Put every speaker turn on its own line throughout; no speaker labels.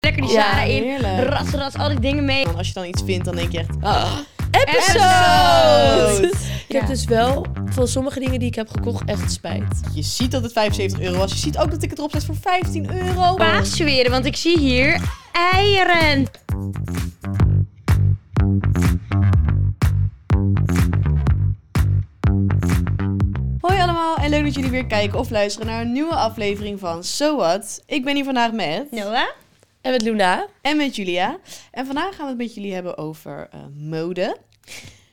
lekker die
Ja,
Sarah in.
heerlijk.
Ras, ras, al die dingen mee.
En als je dan iets vindt, dan denk je echt... ah,
Episode! Ik
Ja.
heb dus wel van sommige dingen die ik heb gekocht echt spijt.
Je ziet dat het 75 euro was. Je ziet ook dat ik het erop zet voor 15 euro.
Paasweren, want ik zie hier eieren.
Hoi allemaal en leuk dat jullie weer kijken of luisteren naar een nieuwe aflevering van So What. Ik ben hier vandaag met...
Noah?
En met Luna.
En met Julia. En vandaag gaan we het met jullie hebben over eh, mode.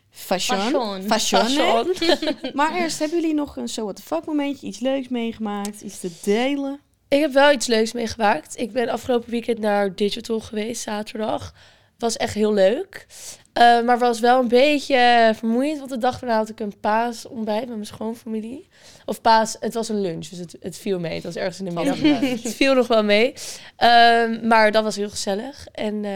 Fashion.
Fashion.
Fashion, hè?
Fashion.
Maar eerst, hebben jullie nog een So What The Fuck momentje? Iets leuks meegemaakt? Iets te delen?
Ik heb wel iets leuks meegemaakt. Ik ben afgelopen weekend naar Digital geweest, zaterdag. Was echt heel leuk. Eh, maar was wel een beetje eh, vermoeiend, want de dag daarna had ik een paasontbijt met mijn schoonfamilie. Of paas, het was een lunch, dus het, het viel mee. Het was ergens in de middag. het viel nog wel mee. Ehm, maar dat was heel gezellig. En eh,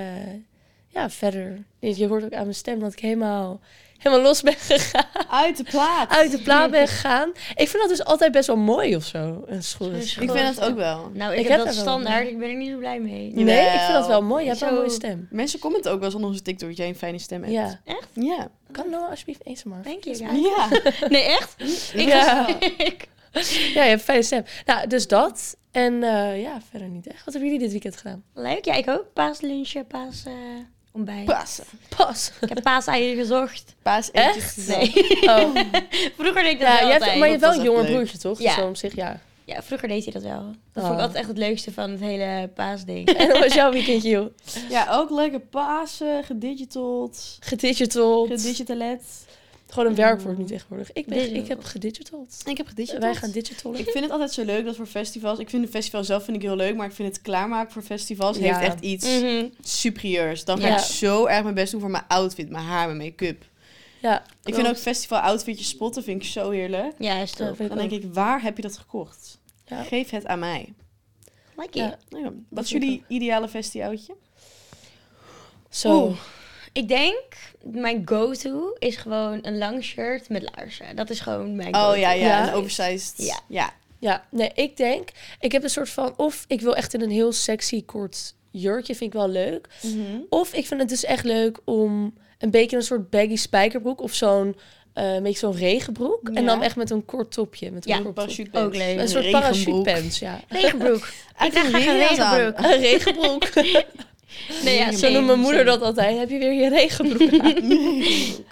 ja, verder. Je je hoort ook aan mijn stem dat ik helemaal, helemaal los ben gegaan.
Uit de plaat.
Uit de plaat ben gegaan. Ik vind dat dus altijd best wel mooi of zo, een schoolrestaurant.
Ik vind dat ook wel.
Nou, ik,
Ik
heb,
heb
dat
daar wel
standaard.
mee.
Ik ben er niet zo blij mee.
Ja.
Nee, ik vind dat
Jawel.
wel mooi. Je hebt wel een
Zo-
mooie stem.
Mensen commenten ook wel eens onder onze TikTok dat jij een fijne stem hebt.
Ja.
Ja.
Kan nou alsjeblieft eens maar.
Dank je. ja.
Ja.
Nee, echt? Ik
Ja.
ik-
Ja, je hebt een fijne stem. Nou, dus dat. En eh, ja, verder niet echt. Wat hebben jullie dit weekend gedaan?
Leuk, ja, ik ook. Paaslunchje, paas eh, ontbijt.
Pasen.
Pas.
ik heb paaseieren gezocht.
Paas
Echt?
Nee.
Oh.
Vroeger deed ik dat
Ja,
wel
je hebt,
altijd.
maar je hebt wel
Dat
een
was
jonger
echt leuk.
broertje, toch?
Ja.
Dus om zich, ja.
Ja, vroeger deed hij dat wel. Dat
Oh.
vond ik altijd echt het leukste van het hele paasding.
En hoe was jouw weekendje, joh?
Ja, ook lekker Pasen, gedigitald,
Gedigitald.
gedigitalet.
Gewoon een werkwoord nu tegenwoordig. Ik, ben,
Digital.
ik heb gedigitald.
Ik heb gedigitald.
Wij gaan digitalen.
Ik vind het altijd zo leuk dat voor festivals... Ik vind het festival zelf vind ik heel leuk, maar ik vind het klaarmaken voor festivals
Ja.
heeft echt iets superieurs. Dan ga
Mhm. Ja.
ik zo erg mijn best doen voor mijn outfit, mijn haar, mijn make-up.
Ja. Oh,
Ik vind ook festival outfitjes spotten vind ik zo heerlijk.
Ja, is
Ja,
tof.
vind
Dan denk
ook.
ik, waar heb je dat gekocht?
Ja.
Geef het aan mij.
Like
Ja.
it.
Nou ja, wat is
vind ik
jullie ideale festivaltje?
Zo.
Oeh. Ik denk, mijn go-to is gewoon een lang shirt met laarzen. Dat is gewoon mijn go-to.
Oh ja, ja,
Ja.
een oversized.
Ja.
ja.
Ja, nee, ik denk, ik heb een soort van, of ik wil echt in een heel sexy kort jurkje, vind ik wel leuk. Of ik vind het dus echt leuk om een beetje een soort baggy spijkerbroek of zo'n eh, een beetje zo'n regenbroek.
Ja.
En dan echt met een kort topje. Met een
Ja,
kort top.
Parachutepants.
Ook leuk.
Een soort
regenbroek.
parachutepants, ja.
Regenbroek.
Uit
dacht,
een
ga ik een
regenjas aan.
regenbroek.
Een regenbroek.
Nee, ja,
Zo noemt mijn moeder
dat.
dat altijd. Heb je weer je regenbroek aan?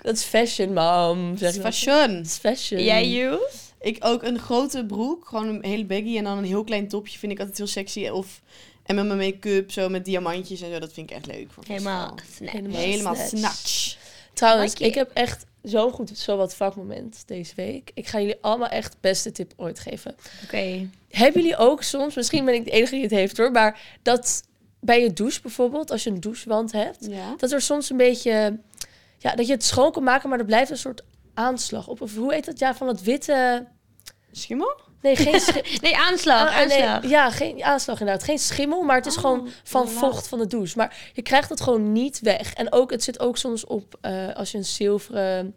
dat is fashion, mam. Zeg
Dat
ik
is
dan.
fashion.
Dat is fashion.
Jij, you?
Ik ook een grote broek, gewoon een hele baggy en dan een heel klein topje vind ik altijd heel sexy. Of, en met mijn make-up, zo met diamantjes en zo, dat vind ik echt leuk. Voor een
Helemaal.
festival.
Nee.
Helemaal,
Helemaal
snatch.
snatch.
Trouwens,
Like it.
ik heb echt zo'n goed zowat vakmoment deze week. Ik ga jullie allemaal echt beste tip ooit geven.
Oké.
Hebben jullie ook soms, misschien ben ik de enige die het heeft hoor, maar dat bij je douche bijvoorbeeld, als je een douchewand hebt,
Ja.
dat er soms een beetje, ja, dat je het schoon kan maken, maar er blijft een soort aanslag op. Of hoe heet dat? Ja, van dat witte,
Schimmel?
nee, geen schi-
Nee, aanslag.
Ah, nee,
aanslag.
ja, geen aanslag inderdaad. Geen schimmel, maar het is
Oh,
gewoon van
laag.
vocht van de douche. Maar je krijgt het gewoon niet weg. En ook, het zit ook soms op eh, als je een zilveren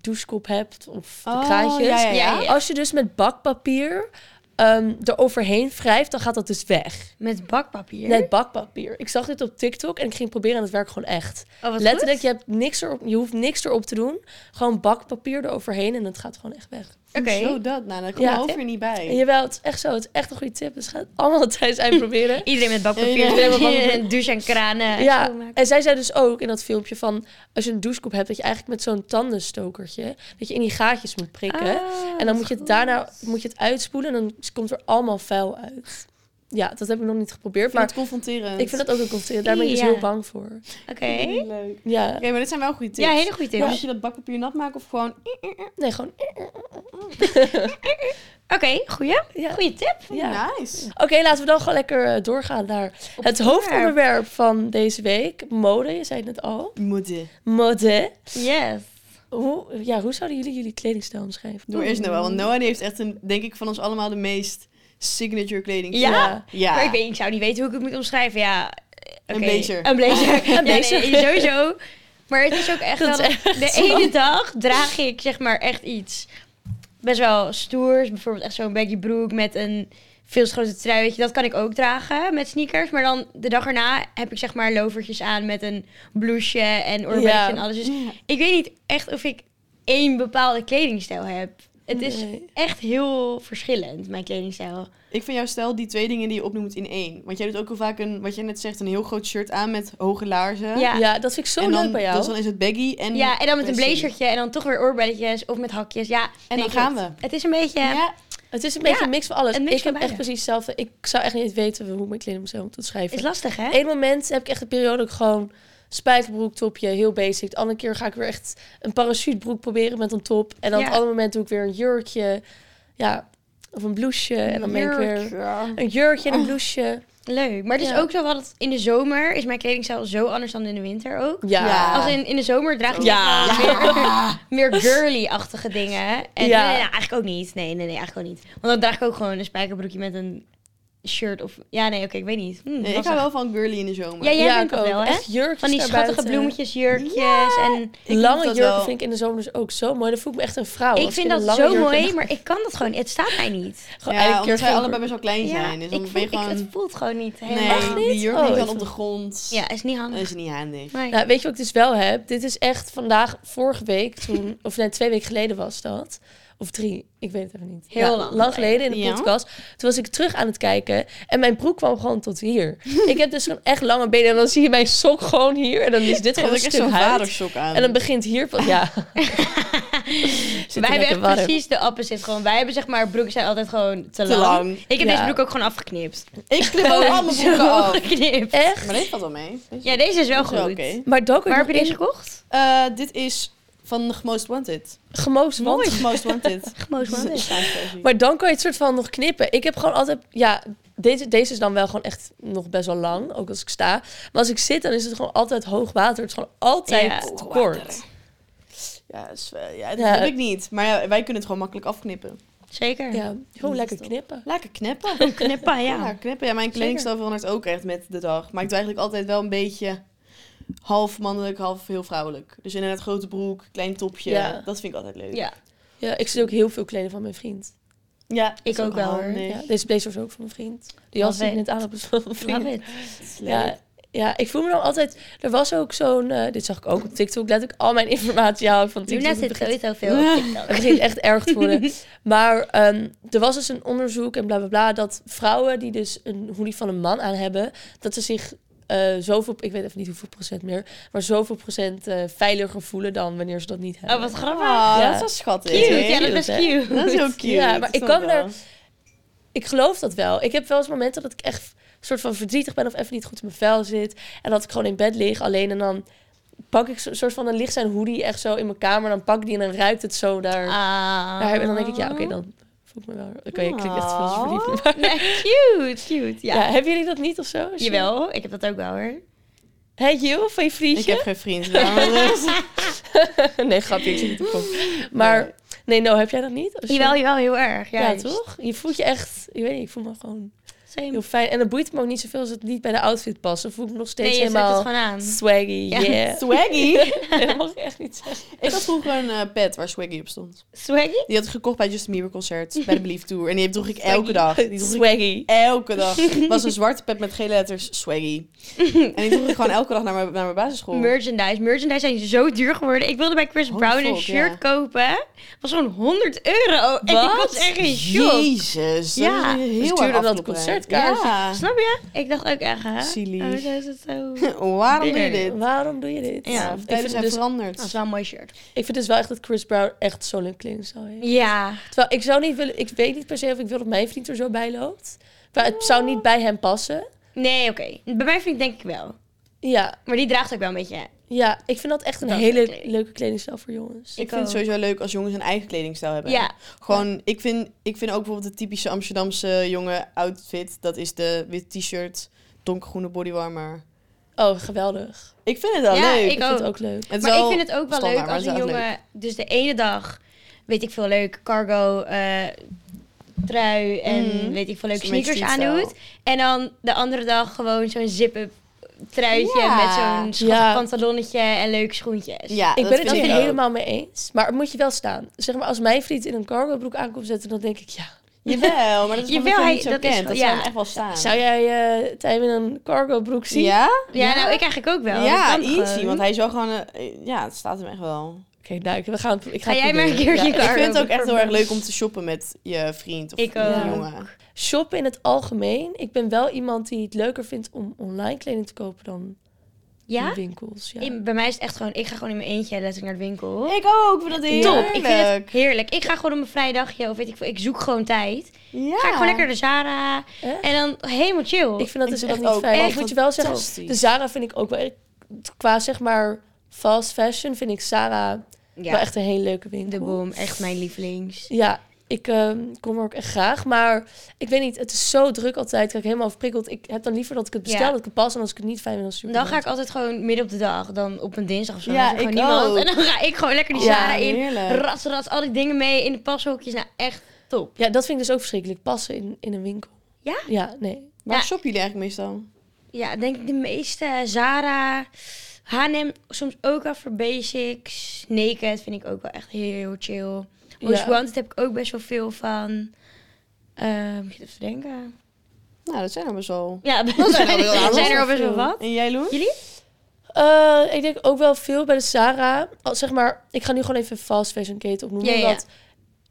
douchekop hebt of de kraantjes.
Oh, ja, ja,
Ja,
ja.
ja.
Als je dus met bakpapier ehm eroverheen wrijft, dan gaat dat dus weg.
Met bakpapier.
Net bakpapier. Ik zag dit op TikTok en ik ging proberen en het werkt gewoon echt.
Oh, wat
Letterlijk,
goed.
je, hebt niks erop, je hoeft niks erop te doen. Gewoon bakpapier eroverheen en het gaat gewoon echt weg.
Oké.
Zo dat, nou, dan kom
Ja.
je hoofd weer niet bij.
En jawel, het is echt zo. Het is echt een goede tip. Dus ga het allemaal thuis uitproberen.
Iedereen met bakpapier.
Iedereen
met bakpapier.
En douche en kranen. en
Ja,
schoonmaken.
en zij zei dus ook in dat filmpje van... als je een douchekop hebt, dat je eigenlijk met zo'n tandenstokertje... dat je in die gaatjes moet
Ah,
prikken. en dan
wat
moet je, het
goed.
daarna moet je het uitspoelen en dan komt er allemaal vuil uit. Ja, dat heb ik nog niet geprobeerd,
Ik vind
maar
het confronterend.
ik vind dat ook een confronterend. Daar ben ik dus
Ja.
heel bang voor.
Oké.
Niet leuk. Oké,
Ja,
maar dit zijn wel goede tips.
Ja, hele goede tip.
Moet je dat bakpapier nat maken of gewoon...
nee, gewoon...
Oké, goeie.
Ja.
Goeie tip.
Ja.
Nice.
Oké, laten we dan gewoon lekker eh, doorgaan naar
Op
het
het
hoofdonderwerp van deze week. Mode, je zei het net al.
Moede.
Mode.
Yes.
Hoe, ja, hoe zouden jullie jullie kledingstijl omschrijven?
Doe eerst Noah, want Noah die heeft echt een, denk ik, van ons allemaal de meest signature kleding.
Ja?
Ja.
Maar ik, weet, ik zou niet weten hoe ik het moet omschrijven. Ja, oké.
Een blazer.
Een blazer. Ja, nee,
blazer.
sowieso. Maar het is ook echt wel...
Dat is
dat- de ene dag draag ik zeg maar echt iets best wel stoers. Bijvoorbeeld echt zo'n baggy broek met een veel te grote trui, weet je, dat kan ik ook dragen met sneakers. Maar dan de dag erna heb ik zeg maar lovertjes aan met een blouseje en oorbeekjes
Ja.
en alles. Dus ik weet niet echt of ik één bepaalde kledingstijl heb. Het is
Nee.
echt heel verschillend, mijn kledingstijl.
Ik vind jouw stijl die twee dingen die je opnoemt in één. Want jij doet ook heel vaak een, wat jij net zegt, een heel groot shirt aan met hoge laarzen.
Ja.
Ja. dat vind ik zo
en dan,
leuk bij jou.
Dus dan is het baggy en...
ja, en dan met een
Precies.
blazertje en dan toch weer oorbelletjes of met hakjes. Ja,
En
nee,
dan gaan
klopt.
we.
Het is een beetje...
Ja,
Het is een beetje
Ja,
een mix van alles.
een mix
ik
van
heb echt
beide.
precies hetzelfde. Ik zou echt niet weten hoe mijn kleding zou moeten schrijven.
Is lastig, hè?
Eén moment heb ik echt een periode dat ik gewoon spijkerbroek, topje, heel basic. De andere keer ga ik weer echt een parachutebroek proberen met een top. En dan
Ja.
op het andere moment doe ik weer een jurkje. Ja, of een blouseje. En dan ben ik weer een jurkje en
Oh.
een blouseje.
Leuk. Maar het is
Ja.
ook zo dat in de zomer is mijn kledingstijl zo anders dan in de winter ook.
Ja.
Ja.
Als in, in de zomer draag ik
Ja.
echt wel meer, meer girly-achtige dingen. En nee,
Ja.
nee, nee, eigenlijk ook niet. Nee, nee, nee, eigenlijk ook niet. Want dan draag ik ook gewoon een spijkerbroekje met een shirt of... Ja, nee, oké, ik weet niet. Hm,
Nee, ik
lastig.
hou wel van girly in de zomer.
Ja, jij
ja,
bent
ik
dat wel, hè?
Echt jurkjes
Van die
daarbuiten.
schattige bloemetjes, jurkjes en...
Ik moet
Lange
dat
jurken
wel.
vind ik in de zomer dus ook zo mooi. Dan voel ik me echt een vrouw.
Ik
Als
vind
in
dat
een
zo
lange jurk
mooi,
en-
maar ik kan dat gewoon. Het staat mij niet.
Gewoon
ja,
elke keer
omdat wij
geen
allebei
broek.
best wel klein
Ja,
zijn. Dus dan
ik
ben
voel,
je
ik, het
gewoon...
voelt gewoon niet helemaal.
Nee,
niet?
die jurk
Oh,
ligt
ik
dan op
voel-
de grond.
Ja, is niet handig.
Dat is niet handig.
Nee.
Nou, weet je wat ik dus wel heb? Dit is echt vandaag, vorige week, toen, of nee, twee weken geleden was dat. Of drie, ik weet het even niet.
Heel
Ja,
lang
geleden in de
Ja.
podcast. Toen was ik terug aan het kijken en mijn broek kwam gewoon tot hier. ik heb dus gewoon echt lange benen en dan zie je mijn sok gewoon hier. En dan is
Dan
dit gewoon
heb
een
ik echt
stuk
zo'n
huid.
vadersok aan.
En dan begint hier van, ja.
Wij hebben echt precies de opposite. Gewoon. Wij hebben zeg maar, broeken zijn altijd gewoon te,
te
lang.
lang.
Ik heb
Ja.
deze broek ook gewoon afgeknipt. Dus
Ik knip ook al mijn broeken af.
Afgeknipt.
Echt?
Maar dit valt wel mee.
Ja, deze is wel
Dat is wel
goed.
oké.
Maar Doc,
Waar heb je deze
deze
gekocht?
Eh, dit is van de Most Wanted.
gemoost want
Want Most Wanted.
Gemoos
Dat is een versie.
Maar dan kan je het soort van nog knippen. Ik heb gewoon altijd, ja, deze, deze is dan wel gewoon echt nog best wel lang, ook als ik sta. Maar als ik zit, dan is het gewoon altijd hoog water. Het is gewoon altijd
Ja,
te
hoog
kort.
water. Ja, dat is wel- ja, dat
Ja.
heb ik niet. Maar ja, wij kunnen het gewoon makkelijk afknippen.
Zeker.
Ja, gewoon
is
lekker
dat.
knippen.
Lekker knippen.
Knippen,
Ja,
ja.
knippen. Ja, mijn kledingstijl verandert ook echt met de dag. Maar ik doe eigenlijk altijd wel een beetje half mannelijk, half heel vrouwelijk. Dus inderdaad grote broek, klein topje.
Ja.
Dat vind ik altijd leuk.
Ja,
Ja, ik zit ook heel veel kleding van mijn vriend.
Ja, dat
Ik
is
ook wel, hoor.
handig.
Ja, deze blazer is ook van mijn vriend. Die jas die ik
Love
net aan heb is van mijn vriend.
love it.
Dat is leuk.
Ja, ja, ik voel me dan altijd... Er was ook zo'n... eh, dit zag ik ook op TikTok. Let ik al mijn informatie hou ik van TikTok.
Luna
Het
zit
begint-
sowieso veel op
Ah,
Het
TikTok.
begint echt erg te worden. Maar ehm, er was dus een onderzoek en bla bla bla. Dat vrouwen die dus een hoodie van een man aan hebben. dat ze zich eh, zoveel. Ik weet even niet hoeveel procent meer. maar zoveel procent eh, veiliger voelen dan wanneer ze dat niet hebben.
Oh, wat grappig.
Ah,
Ja.
dat is wel schattig.
Cute. Ja, dat is
Cute, hè?
cute. Ah.
Dat is heel cute.
Ja, maar
Dat
ik
snap
kan
wel.
er- Ik geloof dat wel. Ik heb wel eens momenten dat ik echt. soort van verdrietig ben of even niet goed in mijn vel zit. En dat ik gewoon in bed lig alleen en dan. Pak ik zo- soort van, dan ligt zijn hoodie echt zo in mijn kamer. Dan pak ik die en dan ruikt het zo daar.
Ah.
daar en dan denk ik, ja, oké, dan voel ik me wel. Oké, ik klink echt veel
Aw.
verliefd.
Nee, cute, cute.
Ja.
Ja.
hebben jullie dat niet of zo? Als je-
Jawel, ik heb dat ook wel hoor.
Hé, Jill, van je
Ik
vriendje?
heb geen vriend. dames.
nee, grapje, ik zit niet op kop. Maar, nee, no, heb jij dat niet? Als je-
Jawel, jawel, heel erg.
Ja,
Ja,
toch? Je voelt je echt, ik weet niet, ik voel me gewoon
Same.
heel fijn. En dan boeit het me ook niet zoveel als het niet bij de outfit past. Dan voel ik me nog steeds
Nee, je zet het
helemaal
gewoon aan.
swaggy,
Ja.
yeah.
Swaggy?
Nee, dat mag ik echt niet zeggen.
Ik had vroeger een eh, pet waar Swaggy op stond.
Swaggy?
Die had ik gekocht bij Justin Bieber concert. Bij de Believe Tour. En die droeg ik elke
Swaggy.
dag. Die droeg ik
Swaggy.
elke dag. Het was een zwarte pet met gele letters. Swaggy. En die droeg ik gewoon elke dag naar mijn, naar mijn basisschool.
Merchandise. Merchandise zijn zo duur geworden. Ik wilde bij Chris
Oh,
Brown een
fuck,
shirt
ja.
kopen. was zo'n 100 euro. En ik
Wat?
was echt in shock.
Jezus. dat
Ja.
is
Dus
Heel
duurder
erg
dan het
afkloppen.
concertkaartje.
Ja.
Snap je? Ik dacht ook echt, hè?
Silly.
Oh, zo is het zo.
Waarom doe je dit?
Waarom doe je dit?
Ja,
Ja,
ik,
tijden
vind
zijn
dus,
Dat is
veranderd.
wel een mooi shirt.
ik vind dus wel echt dat Chris Brown echt zo'n leuk kledingstijl heeft.
Ja.
Terwijl ik zou niet willen, ik weet niet per se of ik wil dat mijn vriend er zo bij loopt. Maar het zou niet bij hem passen.
Nee, oké. Bij mijn vriend denk ik wel.
Ja,
Maar die draagt ook wel een beetje.
Ja, ik vind dat echt een
Dat is
hele
leuk kleding.
leuke kledingstijl voor jongens.
Ik vind het sowieso leuk als jongens een eigen kledingstijl hebben.
Ja.
Gewoon, ik vind, ik vind ook bijvoorbeeld de typische Amsterdamse jongen outfit. Dat is de wit t-shirt, donkergroene bodywarmer.
Oh, geweldig.
Ik vind het wel
Ja,
leuk.
ik
Ik vind het
ook.
ook
Het
leuk.
is
Maar ik
wel
vind het ook wel
standaard,
leuk
maar
als
het
een
is wel echt
jongen... Dus de ene dag, weet ik veel leuk, cargo, eh, trui en
Mhm.
weet ik veel leuk,
Zo'n beetje
sneakers
streetstyle.
aandoet. En dan de andere dag gewoon zo'n zip-up truitje
Ja.
met zo'n schattig
Ja.
pantalonnetje en leuke schoentjes.
Ja,
ik
dat
ben het
vind
er
ik ook.
helemaal mee eens. Maar het moet je wel staan. Zeg maar, als mijn vriend in een cargo broek aankomt zetten, dan denk ik, ja,
Jawel, maar dat is
Jawel,
gewoon dat je hem
hij-
niet zo
dat is
kent.
wel-
Dat zou
ja.
hem echt wel staan.
Zou jij eh Tijm in een cargo broek zien?
Ja?
Ja, nou, ik eigenlijk ook wel.
ja,
Dat kan
easy.
gewoon.
Want hij is wel gewoon... eh, ja, het staat hem echt wel.
Oké, nou, ik, we gaan, het- ik ga
Ga
het
jij maar een
proberen.
keertje
Ja,
Daar
ik vind
heb
het ook
ik
echt heel
voor
erg
me.
leuk om te shoppen met je vriend of
Ik
je
ook.
jongen.
Shoppen in het algemeen. Ik ben wel iemand die het leuker vindt om online kleding te kopen dan in
Ja?
winkels. Ja.
Ik- bij mij is het echt gewoon, ik ga gewoon in mijn eentje letterlijk naar de winkel.
Ik ook, vind dat
Top,
heerlijk.
ik vind het heerlijk. Ik ga gewoon op een vrijdagje of weet ik veel, ik zoek gewoon tijd.
Ja.
Ga ik gewoon lekker naar de Zara
Echt?
en dan helemaal chill.
Ik vind dat
Ik
dus
doe
echt
dat
niet
ook.
fijn.
Echt
ik moet je wel zeggen,
fantastisch.
de Zara vind ik ook wel... echt- Qua zeg maar fast fashion vind ik Zara
ja,
wel echt een hele leuke winkel.
de boom, echt mijn lievelings.
Ja, ik ehm, kom er ook echt graag. Maar ik weet niet, het is zo druk altijd. Ik raak helemaal overprikkeld. Ik heb dan liever dat ik het bestel,
Ja.
dat ik het pas. En als ik het niet fijn vind, dan super.
Dan ga ik altijd gewoon midden op de dag, dan op een dinsdag of zo.
Ja,
dan is er
ik
gewoon niemand.
ook.
En dan ga ik gewoon lekker die
Ja,
Zara in.
heerlijk.
Ras, ras, al die dingen mee in de pashokjes. Nou, echt top.
Ja, dat vind ik dus ook verschrikkelijk. Passen in, in een winkel.
Ja?
Ja, nee.
Waar
Ja.
shoppen jullie eigenlijk meestal?
Ja, ik denk de meeste. Zara, H&M, soms ook wel voor basics. Naked vind ik ook wel echt heel chill. Most
Ja.
Wanted heb ik ook best wel veel van. Ehm ik zit even te denken.
Nou, dat zijn er best wel.
Ja,
Dat zijn er wel heel
zijn er
veel.
al best wel wat.
En jij, Loen?
Jullie?
Eh, ik denk ook wel veel bij de Zara. Al, zeg maar, ik ga nu gewoon even fast fashion keten opnoemen.
Ja, ja, ja.
Want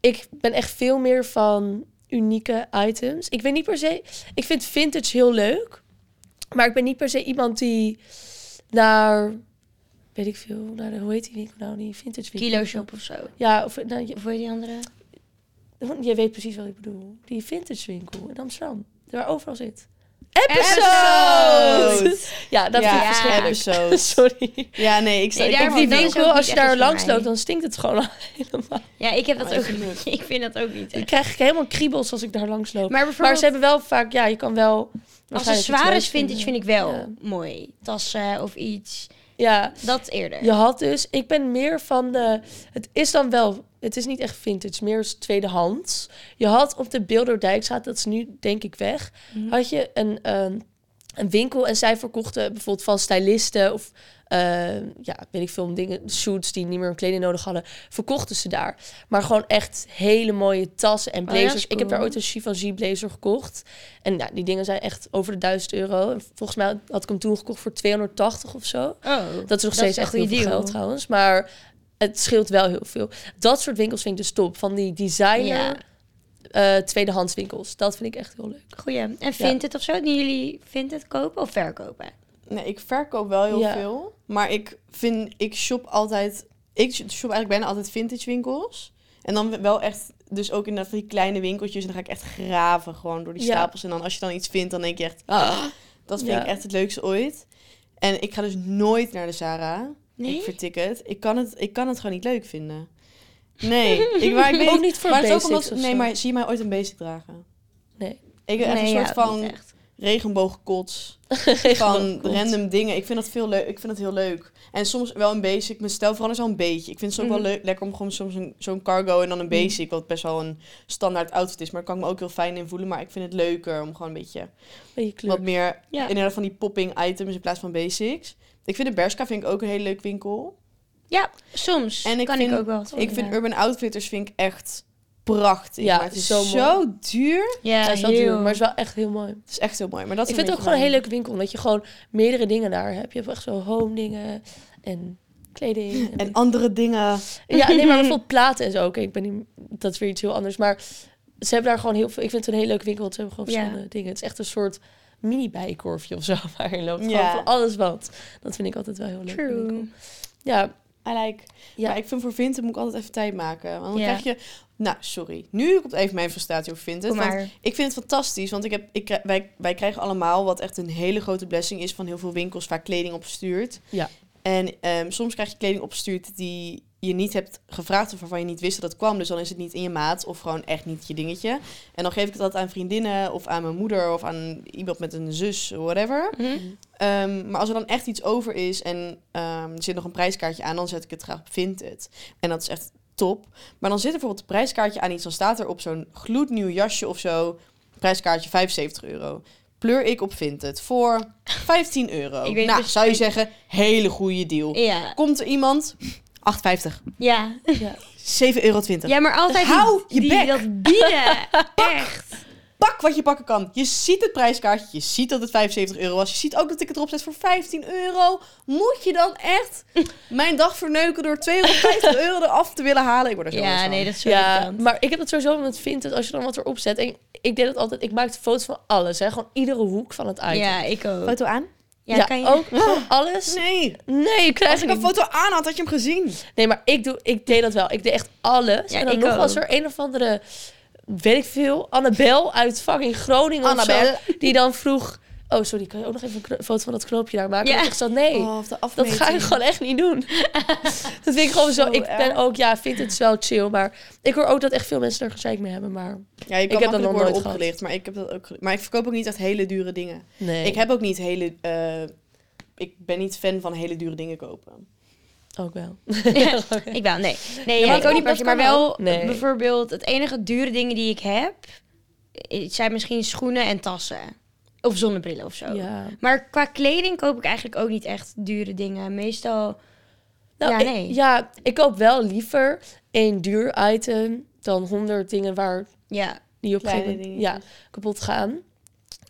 ik ben echt veel meer van unieke items. Ik weet niet per se... Ik vind vintage heel leuk. Maar ik ben niet per se iemand die naar... Weet ik veel, naar de, hoe heet die winkel nou? Die vintage winkel.
Kilo shop of zo.
Ja, of nou, je,
Of hoe heet die andere?
je weet precies wat ik bedoel. Die vintage winkel in Amsterdam. Waar overal zit.
Episode!
ja, dat
ja,
vind ik
Ja.
verschrikkelijk.
episode.
Sorry.
Ja, nee, ik sta.
Nee,
ik
daar
Ik die
dat is ook
winkel,
niet
als je
echt
daar
iets voor
langs
mij.
loopt, dan stinkt het gewoon al helemaal.
Ja, ik heb dat
Oh,
ook
ik vind
niet. Ik vind dat ook niet.
Dan
echt.
krijg ik helemaal kriebels als ik daar langs loop. Maar,
Maar bijvoorbeeld
ze hebben wel vaak, ja, je kan wel... waarschijnlijk iets
accessoires
leuks
vintage vind
vinden.
ik wel
Ja.
mooi. Tassen of iets.
Ja,
Dat eerder.
je had dus... Ik ben meer van de... Het is dan wel... Het is niet echt vintage, meer is tweedehands. Je had op de Bilderdijkstraat, dat is nu denk ik weg,
Mhm.
had je een, ehm, een winkel en zij verkochten bijvoorbeeld van stylisten of eh, ja, weet ik veel, dingen, shoots die niet meer hun kleding nodig hadden, verkochten ze daar. Maar gewoon echt hele mooie tassen en
Oh, dat is
blazers. Ik heb daar
cool.
ooit een Givenchy blazer gekocht. En nou, die dingen zijn echt over de 1000 euro. En volgens mij had ik hem toen gekocht voor 280 of zo.
Oh,
Dat is nog
Dat
steeds
is een
echt heel
goede
veel
deal.
geld trouwens. Maar het scheelt wel heel veel. Dat soort winkels vind ik dus top. Van die designer
Ja.
eh, tweedehands winkels. Dat vind ik echt heel leuk.
goeie. En vindt het of zo? Doen jullie vindt het kopen of verkopen?
Nee, ik verkoop wel heel
Ja.
veel. Maar ik vind, ik shop altijd. Ik shop eigenlijk bijna altijd vintage winkels. En dan wel echt, dus ook in dat die kleine winkeltjes. En dan ga ik echt graven gewoon door die
Ja.
stapels. En dan als je dan iets vindt, dan denk je echt, ah, dat vind
Ja.
ik echt het leukste ooit. En ik ga dus nooit naar de Zara.
Nee?
Ik vertik het. Ik kan het, ik kan het gewoon niet leuk vinden. Nee, ik, maar ik weet
Ook niet voor
maar het is ook
basics
omdat-
of
Nee,
zo.
maar zie je mij ooit een basic dragen?
Nee.
Ik heb echt
Nee,
een
ja,
soort van
niet echt.
regenboogkots. van random dingen. Ik vind dat veel leuk. Ik vind dat heel leuk. En soms wel een basic. Mijn stijl verandert wel een beetje. Ik vind het ook
Mhm.
wel leuk, lekker om gewoon soms een- zo'n cargo en dan een basic. Wat best wel een standaard outfit is. Maar daar kan ik me ook heel fijn in voelen. Maar ik vind het leuker om gewoon een beetje
Beetje kleur.
wat meer...
Ja.
Inderdaad van die popping items in plaats van basics. Ik vind de Berska vind ik ook een hele leuke winkel.
Ja, soms
En ik
kan
vind-
ik ook wel. wat
ik
vinden.
vind Urban Outfitters vind ik echt prachtig.
Oh, Ja,
maar het is
zo
zo,
mooi.
duur.
ja,
Ja, is wel
heel.
duur, maar is wel echt heel mooi.
Het is echt heel mooi. Maar dat is
ik vind het ook gewoon een hele leuke winkel, omdat je gewoon meerdere dingen daar hebt. Je hebt echt zo home dingen en kleding.
En andere dingen.
Ja, nee, maar bijvoorbeeld platen en zo. Oké, ik ben niet, dat is weer iets heel anders. Maar ze hebben daar gewoon heel veel... Ik vind het een hele leuke winkel, want ze hebben gewoon
Ja.
verschillende dingen. Het is echt een soort mini-bijenkorfje of zo, waarin loopt
Ja.
gewoon van alles wat. Dat vind ik altijd wel heel leuk. in een winkel.
True.
Ja,
I like.
Ja.
Maar ik vind voor Vinted moet ik altijd even tijd maken. Want dan
Ja.
krijg je... Nou, sorry. Nu komt even mijn frustratie over Vinted.
Kom
want
maar.
ik vind het fantastisch. Want ik heb, ik, krij- wij, wij krijgen allemaal, wat echt een hele grote blessing is... van heel veel winkels waar kleding op stuurt.
Ja.
En ehm, soms krijg je kleding opgestuurd die je niet hebt gevraagd... of waarvan je niet wist dat het kwam. Dus dan is het niet in je maat of gewoon echt niet je dingetje. En dan geef ik dat aan vriendinnen of aan mijn moeder... of aan iemand met een zus, whatever.
Mhm.
Ehm, maar als er dan echt iets over is en ehm, er zit nog een prijskaartje aan, dan zet ik het graag op Vinted. En dat is echt top. Maar dan zit er bijvoorbeeld een prijskaartje aan iets, dan staat er op zo'n gloednieuw jasje of zo, prijskaartje 75 euro. Pleur ik op Vinted voor 15 euro.
Ik weet
nou,
dus-
zou je zeggen, hele goede deal.
Ja.
Komt er iemand, 8,50.
Ja.
7,20 euro.
ja, maar altijd die-
Hou je
die,
bek.
dat bieden. Echt.
Pak wat je pakken kan. Je ziet het prijskaartje. Je ziet dat het 75 euro was. Je ziet ook dat ik het erop zet voor 15 euro. Moet je dan echt mijn dag verneuken door 250 euro eraf te willen halen? Ik word er zo
Ja,
boos van.
nee, dat is zo
Ja,
irritant.
maar ik heb dat sowieso omdat ik vind dat als je dan wat erop zet. En ik deed dat altijd. Ik maakte foto's van alles. Hè? Gewoon iedere hoek van het item.
Ja, ik ook.
Foto aan?
Ja, kan je...
ook gewoon alles.
Nee.
Nee, ik krijg
Als
je
ik
niet.
een foto aan had, had je hem gezien.
Nee, maar ik, doe, ik deed dat wel. Ik deed echt alles.
Ja,
en dan
ik
nog was
ook.
er een of andere, weet ik veel, Annabel uit fucking Groningen of zo.
Annabel.
Die dan vroeg, oh sorry, kan je ook nog even een kno- foto van dat knoopje daar maken?
Ja.
En ik echt zo, nee,
of de
dat ga ik
Oh, afmeting.
gewoon echt niet doen. dat vind ik gewoon zo.
Zo
Ik ben
erg.
ook, ja, vind het wel chill. Maar ik hoor ook dat echt veel mensen er gezeik mee hebben. Maar
Ja, je kan
Ik heb dat
makkelijk
nog
worden
nooit gehad.
opgelicht, maar ik heb dat ook. gel- Maar ik verkoop ook niet echt hele dure dingen.
nee.
Ik heb ook niet hele. eh, ik ben niet fan van hele dure dingen kopen.
ook wel.
Ik wel, nee. Nee,
Ja,
ja,
maar
ik ook niet
dat
per se. Maar
kan
wel
ook. Nee.
bijvoorbeeld het enige dure dingen die ik heb... eh, zijn misschien schoenen en tassen. Of zonnebrillen of zo.
ja.
Maar qua kleding koop ik eigenlijk ook niet echt dure dingen. Meestal...
Nou,
Ja,
ik-
nee.
ja, ik koop wel liever één duur item dan honderd dingen waar
Ja,
die op een
Kleine
gegeven moment ja,
dingetjes.
kapot gaan.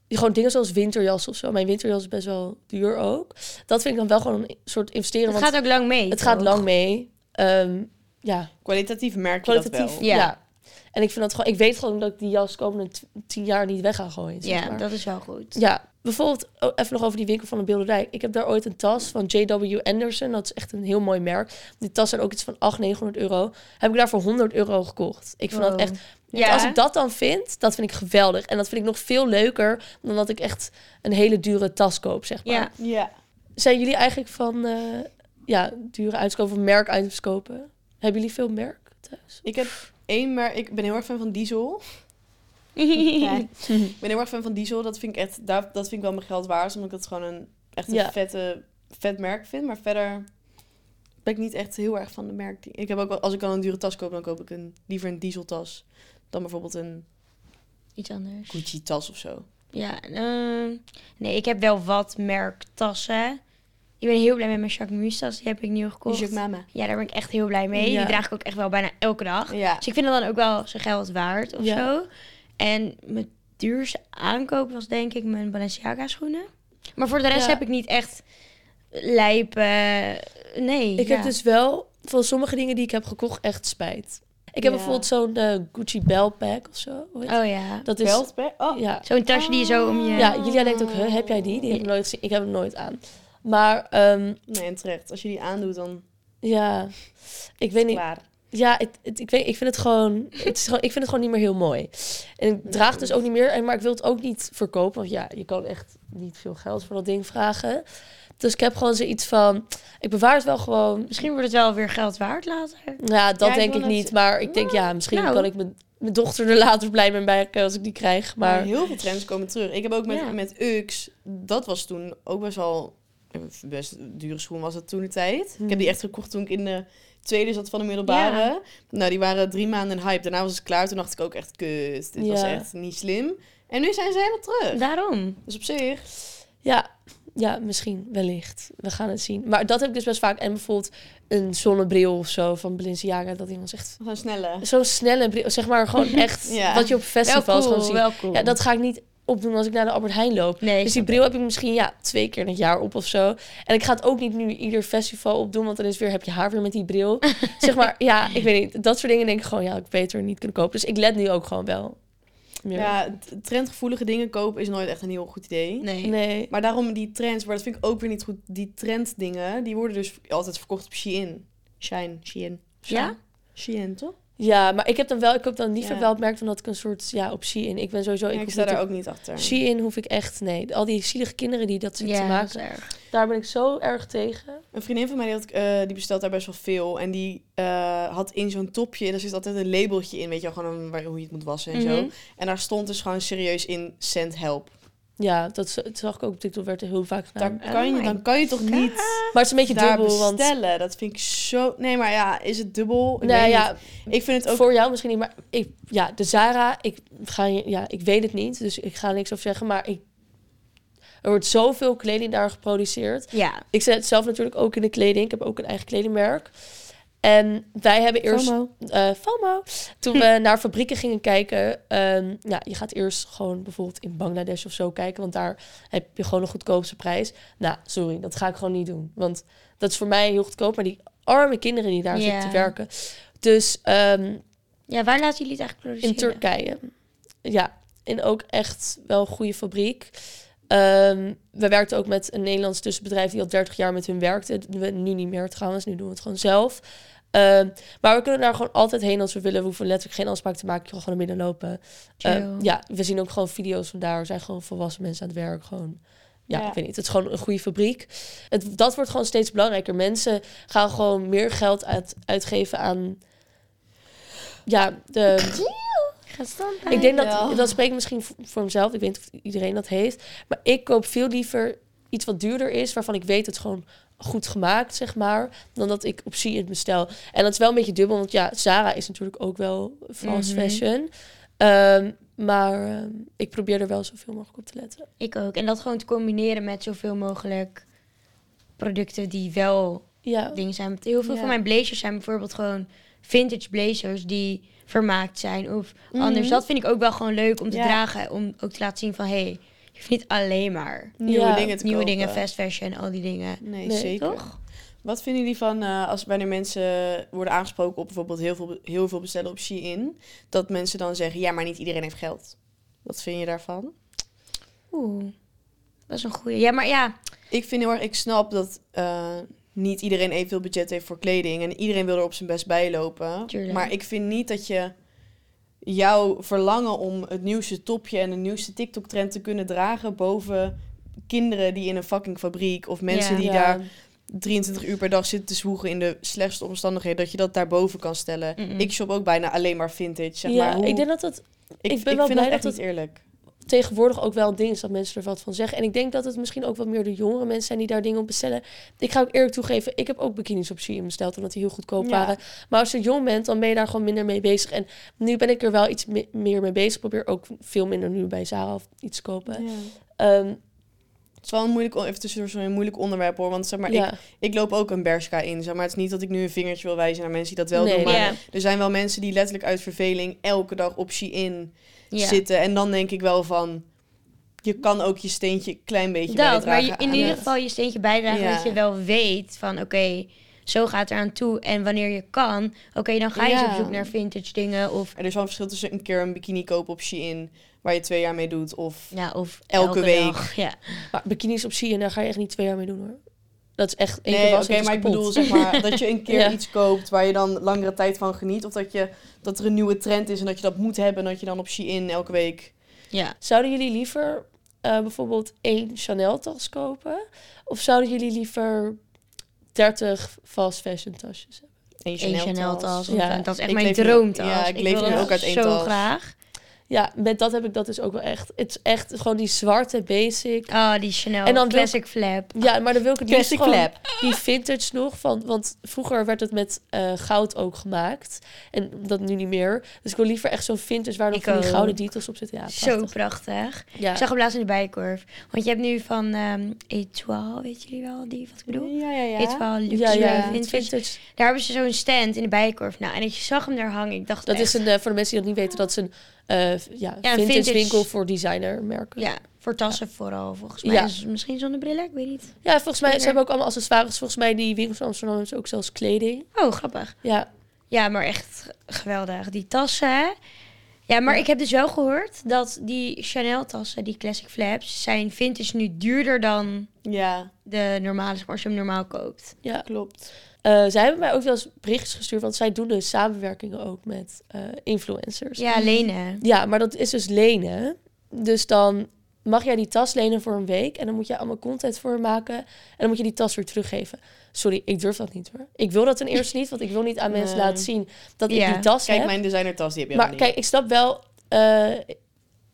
Die gewoon dingen zoals winterjas of zo. Mijn winterjas is best wel duur ook. Dat vind ik dan wel gewoon een soort investeren.
het
want
gaat ook lang mee.
het
toch?
gaat lang mee. Ehm, ja,
Kwalitatief merk je dat
kwalitatief.
wel.
Ja.
Ja. En ik vind dat gewoon. Ik weet gewoon dat ik die jas komende t- tien jaar niet weg ga gooien. Zeg
Ja,
maar.
dat is wel goed.
Ja, bijvoorbeeld oh, even nog over die winkel van de Beeldenrijk. Ik heb daar ooit een tas van JW Anderson. Dat is echt een heel mooi merk. Die tas zijn ook iets van 800, 900 euro. Heb ik daar voor 100 euro gekocht. Ik vind
Wow.
dat echt... Dus
Ja.
Als ik dat dan vind, dat vind ik geweldig. En dat vind ik nog veel leuker dan dat ik echt een hele dure tas koop, zeg maar.
Ja.
Ja.
Zijn jullie eigenlijk van eh, ja, dure uitkopen of merkitems kopen? Hebben jullie veel merk thuis?
Ik heb één merk. Ik ben heel erg fan van diesel. Ik ben heel erg fan van diesel. Dat vind ik echt. daar- Dat vind ik wel mijn geld waard. Omdat ik dat gewoon een echt een
Ja.
vette, vet merk vind. Maar verder ben ik niet echt heel erg van de merk. Ik heb ook wel, als ik dan een dure tas koop, dan koop ik een, liever een dieseltas. Dan bijvoorbeeld een
Iets anders.
Gucci tas of zo.
Ja, ehm, nee, ik heb wel wat merktassen. Ik ben heel blij met mijn Jacquemus tas. Die heb ik nieuw gekocht.
Is je mama.
Ja, daar ben ik echt heel blij mee.
Ja.
Die draag ik ook echt wel bijna elke dag.
Ja.
Dus ik vind dat dan ook wel zijn geld waard of
Ja.
zo. En mijn duurste aankoop was denk ik mijn Balenciaga schoenen. Maar voor de rest
Ja.
heb ik niet echt lijpen. Nee.
Ik
ja.
heb dus wel van sommige dingen die ik heb gekocht echt spijt. Ik heb
Ja.
bijvoorbeeld zo'n eh, Gucci Bell Pack of zo. hoe heet
Oh ja.
Dat is,
Veldberg? Oh.
Dus- ja.
Zo'n tasje die je zo om je...
ja, Julia denkt ook, huh, heb jij die? Die heb ik nooit gezien. Ik heb hem nooit aan. Maar ehm,
Nee, en terecht. Als je die aandoet, dan
ja, ik weet niet.
klaar.
Ja, het, het- ik, weet, ik, vind het gewoon, het is gewoon, ik vind het gewoon niet meer heel mooi. En ik draag het dus ook niet meer, en, maar ik wil het ook niet verkopen. Want ja, je kan echt niet veel geld voor dat ding vragen. Dus ik heb gewoon zoiets van, ik bewaar het wel gewoon.
Misschien wordt het wel weer geld waard later.
Ja, dat
Ja, ik
denk
wil
ik
net
niet.
zeggen,
Maar ik denk, ja, misschien
nou.
kan ik mijn, mijn dochter er later blij mee maken als ik die krijg.
Maar
Maar
heel veel trends komen terug. Ik heb ook met,
Ja.
met Ux, dat was toen ook best wel een best dure schoen was dat toen de tijd. Ik heb die echt gekocht toen ik in de tweede zat van de middelbare.
Hmm. Ja.
Nou, die waren drie maanden in hype. Daarna was het klaar. Toen dacht ik ook echt, kut, dit was
Ja.
echt niet slim. En nu zijn ze helemaal terug.
Daarom.
Dus op zich,
Ja, ja, misschien, wellicht. We gaan het zien. Maar dat heb ik dus best vaak. En bijvoorbeeld een zonnebril of zo van Balenciaga. Dat iemand zegt,
we gaan sneller.
zo'n snelle bril. Zeg maar gewoon echt
Ja.
wat je op festivals
wel
gewoon
cool,
ziet.
wel cool.
Ja, dat ga ik niet opdoen als ik naar de Albert Heijn loop.
Nee,
Dus die bril heb ik misschien ja, twee keer in het jaar op of zo. En ik ga het ook niet nu ieder festival opdoen, want dan is weer, heb je haar weer met die bril. zeg maar, ja, ik weet niet. Dat soort dingen denk ik gewoon, ja, ik beter niet kunnen kopen. Dus ik let nu ook gewoon wel. Meer.
Ja, t- trendgevoelige dingen kopen is nooit echt een heel goed idee.
nee.
Nee.
Maar daarom die trends, maar dat vind ik ook weer niet goed. Die trenddingen, die worden dus altijd verkocht op Shein. Shine, Shein.
Ja?
Shein, toch?
Ja, maar ik heb dan wel, ik koop dan liever
Ja.
wel het merk van dat ik een soort, ja, op in. Oh, Ik ben sowieso,
Ja, ik
hoef
sta
niet
daar
op
ook niet achter.
in hoef ik echt, nee. Al die zielige kinderen die dat zitten
Ja,
te
dat is
maken,
erg.
daar ben ik zo erg tegen.
Een vriendin van mij die, had, eh, die bestelt daar best wel veel. En die eh, had in zo'n topje, en daar zit altijd een labeltje in, weet je wel, gewoon een- waar, hoe je het moet wassen en
Mhm.
zo. En daar stond dus gewoon serieus in, send help.
Ja, dat, z- dat zag ik ook op TikTok, werd er heel vaak gedaan.
Daar kan je,
my
dan kan je toch niet
Maar het is een beetje
daar
dubbel, want...
bestellen? Dat vind ik zo... Nee, maar ja, is het dubbel? Ik
Nou
weet
ja,
niet. Ik vind het ook...
voor jou misschien niet, maar ik, ja, de Zara, ik, ga, je- ja, ik weet het niet, dus ik ga niks over zeggen, maar ik, er wordt zoveel kleding daar geproduceerd.
Ja.
Ik zet het zelf natuurlijk ook in de kleding, ik heb ook een eigen kledingmerk. En wij hebben eerst
FOMO.
eh FOMO. Toen we naar fabrieken gingen kijken. ehm, ja, je gaat eerst gewoon bijvoorbeeld in Bangladesh of zo kijken. Want daar heb je gewoon een goedkoopste prijs. Nou, sorry, dat ga ik gewoon niet doen. Want dat is voor mij heel goedkoop. Maar die arme kinderen die daar
Ja.
zitten te werken. Dus ehm,
Ja, waar laten jullie het eigenlijk
in
produceren?
Turkije. Ja, en ook echt wel een goede fabriek. Ehm, we werkten ook met een Nederlands tussenbedrijf die al 30 jaar met hun werkte. We nu niet meer trouwens, nu doen we het gewoon zelf. Ehm, maar we kunnen daar gewoon altijd heen als we willen. We hoeven letterlijk geen afspraak te maken. Je kan gewoon naar binnen lopen.
Chill.
Ehm, ja, we zien ook gewoon video's van daar. Er zijn gewoon volwassen mensen aan het werk. Gewoon, ja,
Ja.
ik weet niet. Het is gewoon een goede fabriek. Het, dat wordt gewoon steeds belangrijker. Mensen gaan gewoon meer geld uit, uitgeven aan... Ja, de,
Gaat stand
ik denk
wel.
dat, dat spreekt misschien voor- voor mezelf. Ik weet niet of iedereen dat heeft. Maar ik koop veel liever iets wat duurder is, waarvan ik weet het is gewoon goed gemaakt, zeg maar, dan dat ik op zie het bestel. En dat is wel een beetje dubbel, want ja, Zara is natuurlijk ook wel fast
Mhm.
fashion. Ehm, maar ehm, ik probeer er wel zoveel mogelijk op te letten.
Ik ook. En dat gewoon te combineren met zoveel mogelijk producten die wel
Ja,
dingen zijn. Want heel veel
Ja.
van mijn blazers zijn bijvoorbeeld gewoon vintage blazers die vermaakt zijn. Of anders. Dat vind ik ook wel gewoon leuk om te
Mhm. Ja.
dragen. Om ook te laten zien van, hé, hey, je hoeft niet alleen maar
Nieuwe
Ja,
dingen te
nieuwe
kopen.
dingen, fast fashion, al die dingen.
Nee,
Nee,
zeker.
Toch?
Wat vinden jullie van eh, als wanneer mensen worden aangesproken op bijvoorbeeld heel veel, heel veel bestellen op Shein, dat mensen dan zeggen, ja, maar niet iedereen heeft geld. Wat vind je daarvan?
Oeh, dat is een goede. Ja, maar ja,
Ik vind heel erg, ik snap dat eh, niet iedereen evenveel budget heeft voor kleding en iedereen wil er op zijn best bij lopen.
Tuurlijk.
Maar ik vind niet dat je jouw verlangen om het nieuwste topje en de nieuwste TikTok-trend te kunnen dragen boven kinderen die in een fucking fabriek of mensen
Ja.
die
ja.
daar 23 uur per dag zitten te zwoegen in de slechtste omstandigheden, dat je dat daarboven kan stellen.
Mm-mm.
Ik shop ook bijna alleen maar vintage. Zeg
ja,
maar. Hoe-
ik denk dat dat
ik,
ben wel
vind
blij
dat echt
dat
niet eerlijk.
tegenwoordig ook wel een ding is dat mensen er wat van zeggen. En ik denk dat het misschien ook wat meer de jongere mensen zijn die daar dingen op bestellen. Ik ga ook eerlijk toegeven, ik heb ook bikinis op Shein besteld omdat die heel goedkoop
Ja.
waren. Maar als je jong bent, dan ben je daar gewoon minder mee bezig. En nu ben ik er wel iets me- meer mee bezig. Ik probeer ook veel minder nu bij Zara of iets te kopen. Ehm,
Het is wel een moeilijk, on- even tussendoor, sorry, een moeilijk onderwerp hoor. Want zeg maar,
ja.
ik, ik loop ook een Bershka in. Zeg maar het is niet dat ik nu een vingertje wil wijzen naar mensen die dat wel
Nee,
doen. Maar
ja,
er zijn wel mensen die letterlijk uit verveling elke dag op Shein
ja.
zitten. En dan denk ik wel van, je kan ook je steentje een klein beetje
dat.
bijdragen.
Maar je, in
aan
ieder
het-
geval je steentje bijdragen
Ja.
dat je wel weet van, oké, zo gaat het eraan toe. En wanneer je kan, oké, dan ga je eens
Ja.
op zoek naar vintage dingen of,
Er is wel een verschil tussen een keer een bikini kopen op Shein, waar je twee jaar mee doet. Of
ja, of
Elke week.
dag. Ja.
Maar bikinis op Shein, daar ga je echt niet twee jaar mee doen hoor. Dat is echt één keer
Nee, oké,
was het is
maar ik
kapot.
bedoel zeg maar dat je een keer
Ja.
iets koopt waar je dan langere tijd van geniet. Of dat, je, dat er een nieuwe trend is en dat je dat moet hebben en dat je dan op Shein elke week...
ja.
Zouden jullie liever eh, bijvoorbeeld één Chanel-tas kopen? Of zouden jullie liever 30 fast fashion tasjes hebben?
Een
Eén Chanel-tas.
Ja.
Ja. Dat is echt
Ik
mijn
leef nu-
droomtas.
ja, ik leef
wil
nu
dat
ook uit één
zo
tas.
graag.
Ja, met dat heb ik dat dus ook wel echt. Het is echt gewoon die zwarte basic.
Oh, die Chanel
En dan wil-
Classic Flap.
Ja, maar dan wil ik het liefst
Classic
gewoon
flap.
die vintage nog. Van, want vroeger werd het met eh, goud ook gemaakt. En dat nu niet meer. Dus ik wil liever echt zo'n vintage waar nog
Ik
van die
ook.
gouden details op zitten. Ja,
Zo
prachtig.
prachtig.
Ja.
Ik zag hem laatst in de bijenkorf. Want je hebt nu van ehm Etoile, weet jullie wel die, wat ik bedoel?
Ja, ja, ja.
Etoile Luxe
ja, ja,
Vintage.
het vintage.
Daar hebben ze zo'n stand in de bijenkorf. Nou, en ik zag hem daar hangen. Ik dacht
Dat
echt,
is een, eh, voor de mensen die dat niet weten, dat is een eh, v- ja,
Ja, een
vintage,
vintage-
winkel voor designermerken.
Ja, voor tassen vooral, volgens mij.
Ja.
Dus misschien zonnebrillen, ik weet niet.
Ja, volgens mij, ze
Zeker.
hebben ook allemaal accessoires. Volgens mij, die winkels in Amsterdam hebben ze ook zelfs kleding.
Oh, grappig.
Ja,
Ja, maar echt geweldig. Die tassen, hè? Ja, maar ik heb dus wel gehoord dat die Chanel-tassen, die Classic Flaps, zijn vintage nu duurder dan
Ja,
de normale, zeg maar, als je hem normaal koopt.
ja.
klopt.
Eh, zij hebben mij ook wel eens berichtjes gestuurd, want zij doen dus samenwerkingen ook met eh, influencers.
Ja, lenen.
Ja, maar dat is dus lenen. Dus dan mag jij die tas lenen voor een week en dan moet jij allemaal content voor hem maken en dan moet je die tas weer teruggeven. Sorry, ik durf dat niet hoor. Ik wil dat ten eerste niet, want ik wil niet aan mensen
Nee.
laten zien dat
Ja.
ik die tas
Kijk,
heb.
mijn designertas, die heb je
Maar
helemaal
kijk, ik snap wel. eh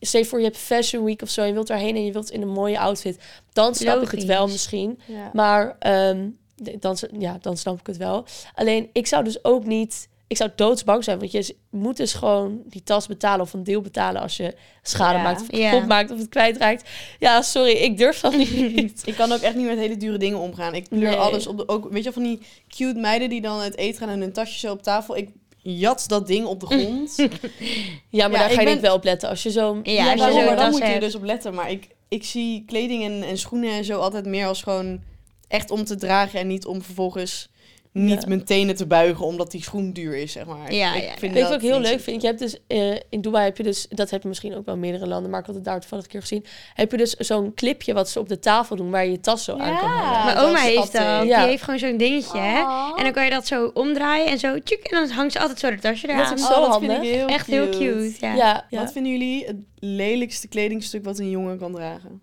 stel je voor, je hebt Fashion Week of zo. En je wilt daarheen en je wilt in een mooie outfit. Dan snap ik het
Logisch.
wel misschien.
niet. Ja.
Maar ehm, d- dan, s- ja, dan snap ik het wel. Alleen ik zou dus ook niet Ik zou doodsbang zijn, want je is- moet dus gewoon die tas betalen of een deel betalen als je schade
Ja.
maakt of
Ja.
kapot maakt of het kwijtraakt. Ja, sorry, ik durf dat niet.
Ik kan ook echt niet met hele dure dingen omgaan. Ik pleur
Nee.
alles op de... Ook, weet je wel, van die cute meiden die dan het eten gaan en hun tasje zo op tafel... Ik jat dat ding op de grond.
Ja,
Ja,
maar daar
ik
ga je
ben-
niet wel op letten als je zo...
Ja,
Ja,
als je
daarom,
zo'n
maar dan
tas
moet je er
hebt.
dus op letten. Maar ik, ik zie kleding en, en schoenen en zo altijd meer als gewoon echt om te dragen en niet om vervolgens niet
Ja.
mijn tenen te buigen omdat die schoen duur is, zeg maar.
Ja, ja, ja.
vind
Weet je
dat
wat ik heel
niet
leuk
zo-
vind? Je hebt dus eh, in Dubai heb je dus, dat heb je misschien ook wel in meerdere landen, maar ik had het daar toevallig een keer gezien. Heb je dus zo'n clipje wat ze op de tafel doen waar je je tas zo aan kan hangen.
Ja,
Mijn
dat
oma
is
heeft
altijd-
dat.
Ja.
Die heeft gewoon zo'n dingetje. hè. En dan kan je dat zo omdraaien en zo. Tjuk, en dan hangt ze altijd zo de tasje
Dat
eraan.
is
Oh,
Zo
dat vind ik
handig.
heel
Echt heel cute. Ja.
Ja,
Wat
ja.
vinden jullie het lelijkste kledingstuk wat een jongen kan dragen?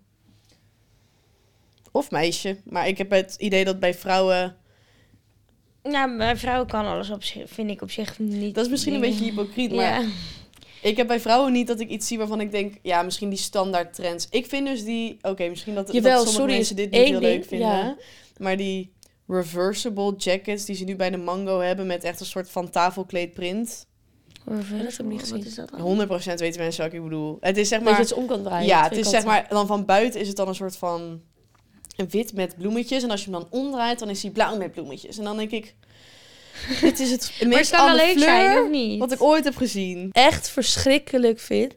Of meisje. Maar ik heb het idee dat bij vrouwen...
Nou, mijn vrouw kan alles op zich, vind ik op zich niet.
Dat is misschien een
Nee.
beetje hypocriet, maar
Ja.
ik heb bij vrouwen niet dat ik iets zie waarvan ik denk... Ja, misschien die standaard trends. Ik vind dus die... Oké, misschien dat,
Jawel,
dat sommige
sorry,
mensen
is
dit niet
één
heel leuk
ding,
vinden.
ja.
Maar die reversible jackets die ze nu bij de Mango hebben... met echt een soort van tafelkleedprint. 100%
dat heb ik niet gezien.
Wat is dat dan?
weten mensen wat ik bedoel. Het is zeg
dat je
maar...
het zo om kan draaien.
Ja,
aan
het
twee
is zeg
kanten.
maar... Dan van buiten is het dan een soort van... Een wit met bloemetjes. En als je hem dan omdraait, dan is hij blauw met bloemetjes. En dan denk ik... Dit is het
Maar het
meest
kan wel
alle
leuk zijn,
fleur
of niet?
wat ik ooit heb gezien.
echt verschrikkelijk vind.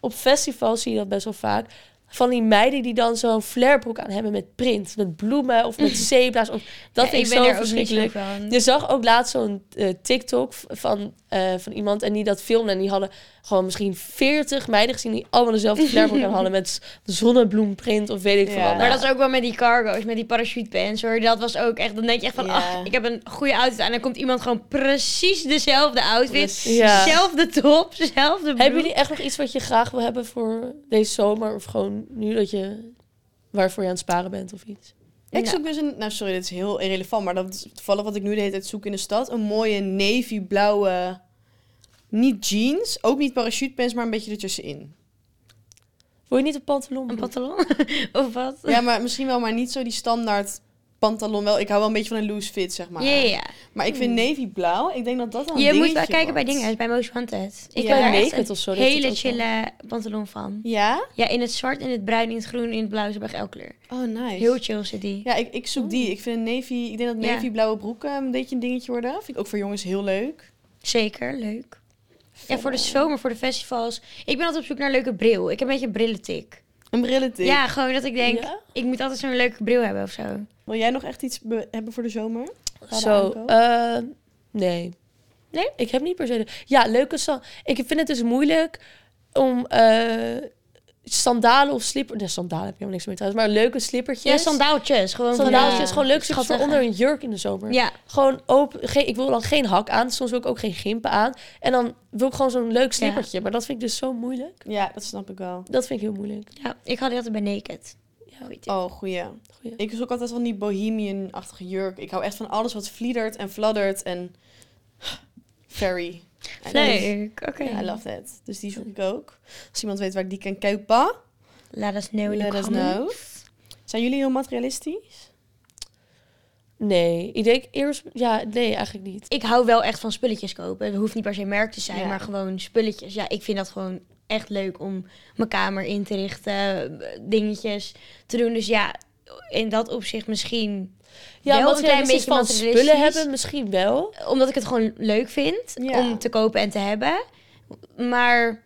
Op festivals zie je dat best wel vaak. Van die meiden die dan zo'n flairbroek aan hebben met print. Met bloemen of met zebra's. Of, dat
Ja,
vind ik,
ben
zo
er ook niet zo
verschrikkelijk. Dus-
van.
Je zag ook laatst zo'n eh, TikTok v- van, eh, van iemand en die dat filmde. En die hadden gewoon misschien 40 meiden gezien die allemaal dezelfde flairbroek aan hadden. Met z- zonnebloemprint of weet ik veel
Ja.
wat.
Maar dat is ook wel met die cargo's, met die parachutepants hoor. Dat was ook echt, dan denk je echt van,
Ja.
ach, ik heb een goede outfit aan. En dan komt iemand gewoon precies dezelfde outfit.
Precies.
Ja.
Zelfde top, dezelfde broek.
Hebben jullie echt nog iets wat je graag wil hebben voor deze zomer? Of gewoon nu dat je... Waarvoor je aan het sparen bent of iets?
Ik
Nou.
zoek dus een, nou sorry, dit is heel irrelevant, maar dat is toevallig wat ik nu de hele tijd zoek in de stad. Een mooie navy blauwe, niet jeans, ook niet parachutepants, maar een beetje ertussenin.
Wil je niet een pantalon?
Een pantalon? of wat?
Ja, maar misschien wel, maar niet zo die standaard pantalon. Wel, ik hou wel een beetje van een loose fit, zeg maar.
Ja, ja,
Maar ik vind navy blauw, ik denk dat dat dan
ja. Je moet wel kijken bij
dingen.
dingen, bij Most Wanted.
Ik
Ik
Ja.
heb
ben
daar echt
naked
een
of zo. dat doet
hele
ook wel.
chille pantalon van.
Ja?
Ja, in het zwart, in het bruin, in het groen, in het blauw, ze bij elke kleur.
Oh, nice.
Heel chill zit die.
ja, ik, ik zoek die. Ik vind een navy, ik denk dat
Ja.
navy blauwe broeken een beetje een dingetje worden. Vind ik ook voor jongens heel leuk.
Zeker, leuk. Ja, voor de
Verder.
zomer, voor de festivals. Ik ben altijd op zoek naar een leuke bril. Ik heb een beetje een brillentik.
Een brillentik.
Ja, gewoon dat ik denk,
Ja?
ik moet altijd zo'n leuke bril hebben of zo.
Wil jij nog echt iets be- hebben voor de zomer? Qua de
Zo,
aankoop?
eh, nee.
Nee?
Ik heb niet per se... de- Ja, leuke sal. Ik vind het dus moeilijk om eh, sandalen of slipper... Nee, sandalen heb ik helemaal niks meer trouwens. Maar leuke slippertjes.
Ja, sandaaltjes. Gewoon van-
Sandaaltjes,
ja.
gewoon leuke slippers voor
Schattige.
onder een jurk in de zomer.
Ja,
Gewoon open... Geen, ik wil dan geen hak aan. Soms wil ik ook geen gimpen aan. En dan wil ik gewoon zo'n leuk slippertje. Maar dat vind ik dus zo moeilijk.
Ja, dat snap ik wel.
Dat vind ik heel moeilijk.
ja, ik had die altijd bij Naked.
Ja.
Goeie tip.
Oh, goeie.
Goeie.
Ik zoek altijd van die bohemian-achtige jurk. Ik hou echt van alles wat vliedert en fladdert en... Fairy. I love it.
Leuk, oké.
Ja, I love that. Dus die zoek ik ook. Als iemand weet waar ik die kan kopen,
Laat us know in de
let us
comments.
know. Zijn jullie heel materialistisch?
Nee. Ik denk eerst... Ja, nee, eigenlijk niet.
Ik hou wel echt van spulletjes kopen. Het hoeft niet per se merk te zijn,
Ja.
maar gewoon spulletjes. Ja, ik vind dat gewoon echt leuk om mijn kamer in te richten, eh, dingetjes te doen. Dus ja, in dat opzicht misschien
Ja,
wel
wat
een klein beetje
van spullen
materialistisch.
hebben, misschien wel.
Omdat ik het gewoon leuk vind
Ja.
om te kopen en te hebben. Maar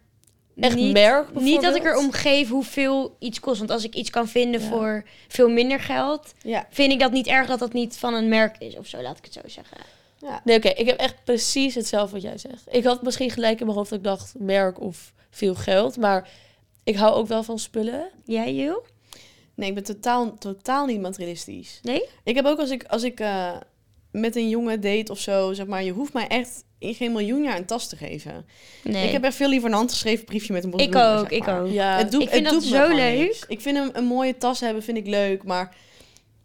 Echt
niet,
merk
niet dat ik
bijvoorbeeld?
erom geef hoeveel iets kost. Want als ik iets kan vinden
Ja.
voor veel minder geld,
Ja.
vind ik dat niet erg dat dat niet van een merk is of zo, laat ik het zo zeggen.
ja.
Nee, oké, ik heb echt precies hetzelfde wat jij zegt. Ik had misschien gelijk in mijn hoofd dat ik dacht merk of veel geld, maar ik hou ook wel van spullen.
Jij, Jill?
Nee, ik ben totaal, totaal niet materialistisch.
Nee?
Ik heb ook als ik, als ik eh, met een jongen date of zo, zeg maar... Je hoeft mij echt in geen miljoen jaar een tas te geven.
Nee.
Ik heb echt veel liever een handgeschreven briefje met een bos
Ik
bloemen,
ook,
zeg
ik
maar.
ook.
Ja,
het doet,
ik vind
het
dat
doet me
zo
gewoon
leuk.
niks. Ik vind hem een mooie tas hebben, vind ik leuk. Maar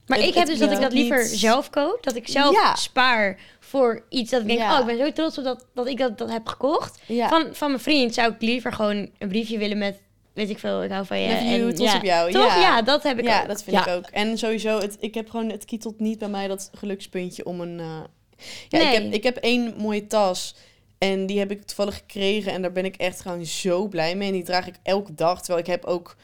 Maar
Het-
ik heb
het
dus dat ik
biedt
dat liever
niet-
zelf koop. Dat ik zelf
Ja.
spaar voor iets dat ik denk,
Ja.
oh, ik ben zo trots op dat, dat ik dat, dat heb gekocht.
ja,
Van, van mijn vriend zou ik liever gewoon een briefje willen met, weet ik veel, ik hou van je.
love you,
en,
trots
ja.
op jou.
Toch? Ja.
Ja,
dat heb ik
Ja,
ook.
dat vind
Ja.
ik ook. En sowieso, het, ik heb gewoon, het kietelt niet bij mij dat gelukspuntje om een eh, Ja, ik,
Nee.
heb, ik heb één mooie tas. En die heb ik toevallig gekregen. En daar ben ik echt gewoon zo blij mee. En die draag ik elke dag. Terwijl ik heb ook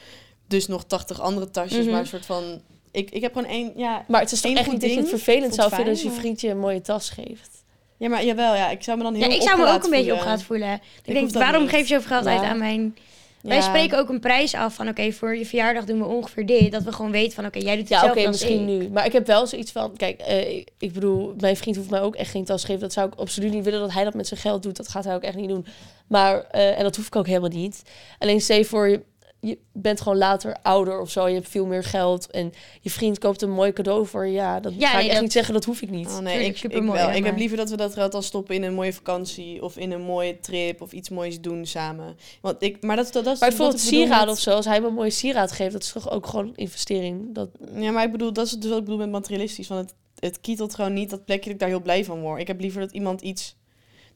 dus nog 80 andere tasjes.
Mhm.
Maar een soort van... Ik, ik heb gewoon één... Ja,
Maar het is toch
Eén
echt
goed
niet dat je het
ding,
vervelend
voelt
zou vinden
fijn,
als je
maar-
vriendje een mooie tas geeft.
ja, maar jawel. Ja, ik zou me dan heel
Ja, ik zou me ook een beetje
opgehaald
opgehaald voelen. Ik,
hoef
denk,
dat
waarom
niet.
geef je zoveel geld uit
Ja.
aan mijn...
voelen.
Wij
Ja.
spreken ook een prijs af van, oké, voor je verjaardag doen we ongeveer dit. Dat we gewoon weten van, oké, jij doet
Ja, oké,
hetzelfde als
misschien
ik.
nu. Maar ik heb wel zoiets van, kijk, eh, ik bedoel, mijn vriend hoeft mij ook echt geen tas te geven. Dat zou ik absoluut niet willen dat hij dat met zijn geld doet. Dat gaat hij ook echt niet doen. Maar, eh, en dat hoef ik ook helemaal niet. Alleen stel je voor, je, je bent gewoon later ouder of zo. Je hebt veel meer geld en je vriend koopt een mooi cadeau voor je. Ja, dat
Ja,
ga
nee,
ik echt
dat-
niet zeggen, dat hoef ik niet.
Oh, nee,
Tuurlijk,
ik, ik,
supermooi,
wel.
hè,
ik heb
maar-
liever dat we dat geld dan stoppen in een mooie vakantie of in een mooie trip of iets moois doen samen. Want ik, maar dat, dat, dat is
Maar
wat
bijvoorbeeld
bedoel
sieraden
met-
of zo, als hij me een mooie sieraad geeft, dat is toch ook gewoon een investering. Dat,
Ja, maar ik bedoel, dat is dus wat ik bedoel met materialistisch. Want het, het kietelt gewoon niet dat plekje dat ik daar heel blij van word. Ik heb liever dat iemand iets,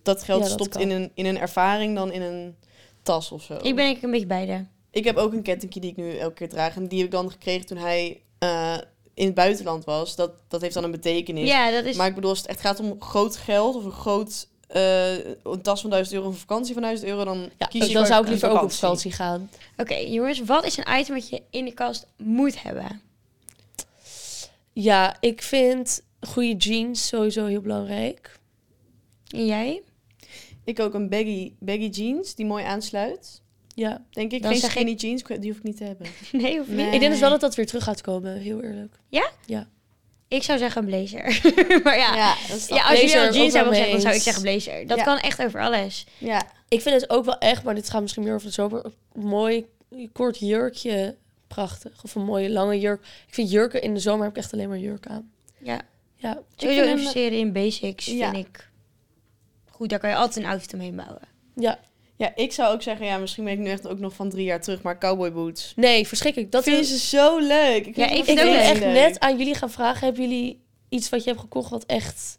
dat geld
Ja, dat
stopt
kan.
in een, in een ervaring dan in een tas of zo.
Ik ben eigenlijk een beetje beide.
Ik heb ook een kettingje die ik nu elke keer draag. En die heb ik dan gekregen toen hij eh, in het buitenland was. Dat, dat heeft dan een betekenis.
Ja, dat is...
Maar ik bedoel, als het echt gaat om groot geld of een groot... eh, een tas van 1000 euro of een vakantie van 1000 euro, dan
ja, dus
kies je
dan
voor
zou ik
een
liever ook op vakantie gaan.
Oké, jongens, wat is een item wat je in de kast moet hebben?
Ja, ik vind goede jeans sowieso heel belangrijk.
En jij?
Ik ook een baggy, baggy jeans die mooi aansluit.
Ja.
Denk ik.
Dan
Geen
zeg ik-
skinny jeans, die hoef ik niet te hebben.
Nee, of niet?
Nee.
Ik denk dus wel dat dat weer terug gaat komen, heel eerlijk.
Ik zou zeggen een blazer. maar ja, ja,
dat is
als jullie
blazer
al
ook
jeans
wel
hebben gezegd,
mee
dan zou ik
eens.
zeggen blazer. Dat
Ja.
kan echt over alles.
Ja,
Ik vind het ook wel echt, maar dit gaat misschien meer over de zomer. Een mooi kort jurkje, prachtig. Of een mooie lange jurk. Ik vind jurken in de zomer heb ik echt alleen maar jurk aan.
Ja.
Ja,
Sowieso
vind hem-
investeren in basics
Ja.
vind ik goed. Daar kan je altijd een outfit omheen bouwen.
ja.
ja, ik zou ook zeggen, ja, misschien ben ik nu echt ook nog van drie jaar terug, maar cowboy boots.
Nee, verschrikkelijk. Dat
Dat vinden
is,
ze zo leuk.
Ja, ik
het
vind
ik
ook
wil
leuk.
echt net aan jullie gaan vragen. Hebben jullie iets wat je hebt gekocht wat echt...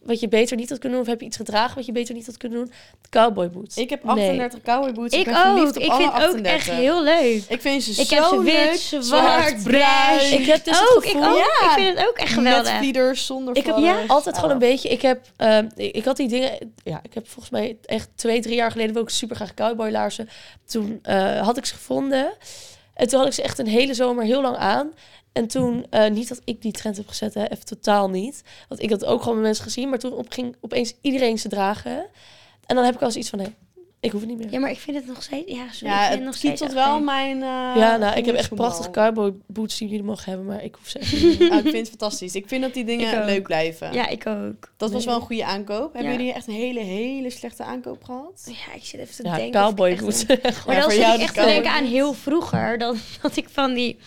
Wat je beter niet had kunnen doen? Of heb je iets gedragen wat je beter niet had kunnen doen? Cowboy boots.
Ik heb
Nee.
38 cowboy boots. Ik,
ik
ben verliefd
ook.
op
Ik
alle
vind ook
38.
echt heel leuk.
Ik vind ze
Ik
zo
heb ze wit,
leuk.
zwart,
bruin.
Ik heb dus het
ook, Oh, ik
gevoel-
ook.
Ja.
Ik vind het ook echt
Met
geweldig.
vlieders, zonder
Ik heb
vallen.
altijd gewoon
Oh.
een beetje. Ik heb. ehm, ik ik had die dingen. Ja, ik heb volgens mij echt twee, drie jaar geleden wil ik super graag cowboylaarzen. Toen eh, had ik ze gevonden. En toen had ik ze echt een hele zomer heel lang aan. En toen, eh, niet dat ik die trend heb gezet, hè, even totaal niet. Want ik had ook gewoon met mensen gezien. Maar toen op, ging opeens iedereen ze dragen. En dan heb ik wel eens iets van, nee, ik hoef het niet meer. Ja,
Ja, maar ik vind het nog steeds... Ja, sorry, ik
Ja,
vind het nog
het
steeds
kietelt
echt
wel
leuk.
mijn... eh,
nou, ik heb echt
gemoedsgemal.
prachtige cowboy boots die jullie mogen hebben. Maar ik hoef ze echt niet meer.
Ah, ik vind het fantastisch. Ik vind dat die
Ik
dingen
ook.
leuk blijven.
Ja, ik ook.
Dat was wel
Nee.
een goede aankoop. Hebben
Ja.
jullie echt een hele, hele slechte aankoop gehad?
Ja, ik zit even te
Ja,
denken. of ik
cowboy
echt
boots.
Maar
Ja,
dan
voor
zit
jou
ik
de
echt te denken
cowboy
aan heel vroeger. Dan dat ik van die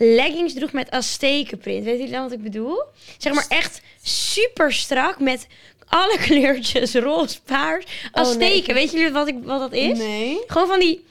leggings droeg met Aztekenprint. Weet jullie dan wat ik bedoel? Zeg maar echt super strak met alle kleurtjes. Roze, paars,
nee.
Azteken. Weet jullie wat, ik, wat dat is?
Oh, Nee.
Gewoon van die...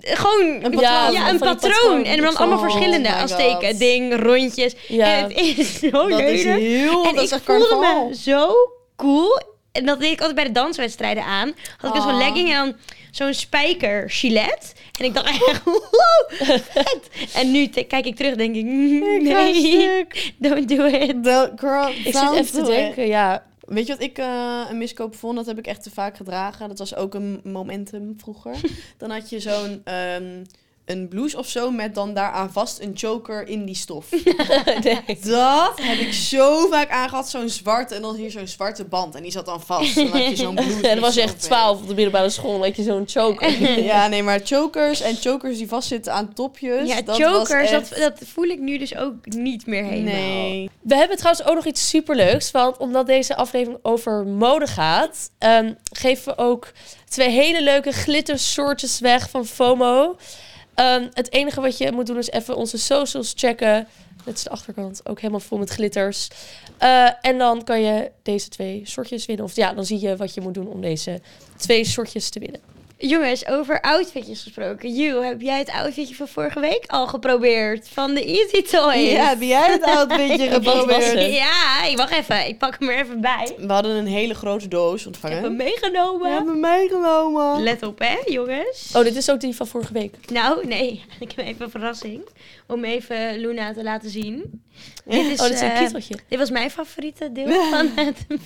Gewoon
Een
ja,
patroon.
ja, een
van die
patroon.
patroon.
En dan
Oh
allemaal verschillende
my
Azteken.
God.
Ding, rondjes.
Ja.
En het is zo
dat is
leuk.
heel...
En
dat is
ik
echt
voelde
carnaval.
me zo cool. En dat deed ik altijd bij de danswedstrijden aan. Had ik dus zo'n
Aw.
legging en dan zo'n spijker gilet. En ik dacht echt, wow, vet. En nu te- kijk ik terug denk ik, mm,
Ik ga
nee,
stuk.
don't do it.
The girl,
Ik zit even te denken, ja.
Weet je wat ik eh, een miskoop vond? Dat heb ik echt te vaak gedragen. Dat was ook een momentum vroeger. dan had je zo'n ehm, een blouse of zo met dan daaraan vast een choker in die stof.
nee.
dat heb ik zo vaak aangehad. Zo'n zwarte en dan hier zo'n zwarte band. En die zat dan vast. Dan had je zo'n blouse.
En dan was je
met
echt
stof in.
12 op de middelbare school. Dat je zo'n choker.
Ja, nee, maar chokers en chokers die vastzitten aan topjes.
ja,
Dus dat was
chokers,
echt-
dat, dat voel ik nu dus ook niet meer helemaal.
Nee.
We hebben trouwens ook nog iets superleuks. Want omdat deze aflevering over mode gaat, ehm, geven we ook twee hele leuke glittersoortjes weg van FOMO. Ehm, het enige wat je moet doen is even onze socials checken. Dit is de achterkant, ook helemaal vol met glitters. Eh, en dan kan je deze twee soortjes winnen. Of ja, dan zie je wat je moet doen om deze twee soortjes te winnen.
Jongens, over outfitjes gesproken. Ju, heb jij het outfitje van vorige week al geprobeerd? Van de Easy Toys.
Ja, heb jij het outfitje
Wat was
geprobeerd?
het?
ja, ik wacht even. Ik pak hem er even bij.
We hadden een hele grote doos
Ik heb
ontvangen.
hem meegenomen.
hem meegenomen.
Let op, hè, jongens.
Oh, dit is ook die van vorige week. Oh,
Nou, nee. Ik heb even een verrassing. Om even Luna te laten zien. Dit is,
oh, dit is een
eh,
kieteltje.
dit was mijn favoriete deel van het,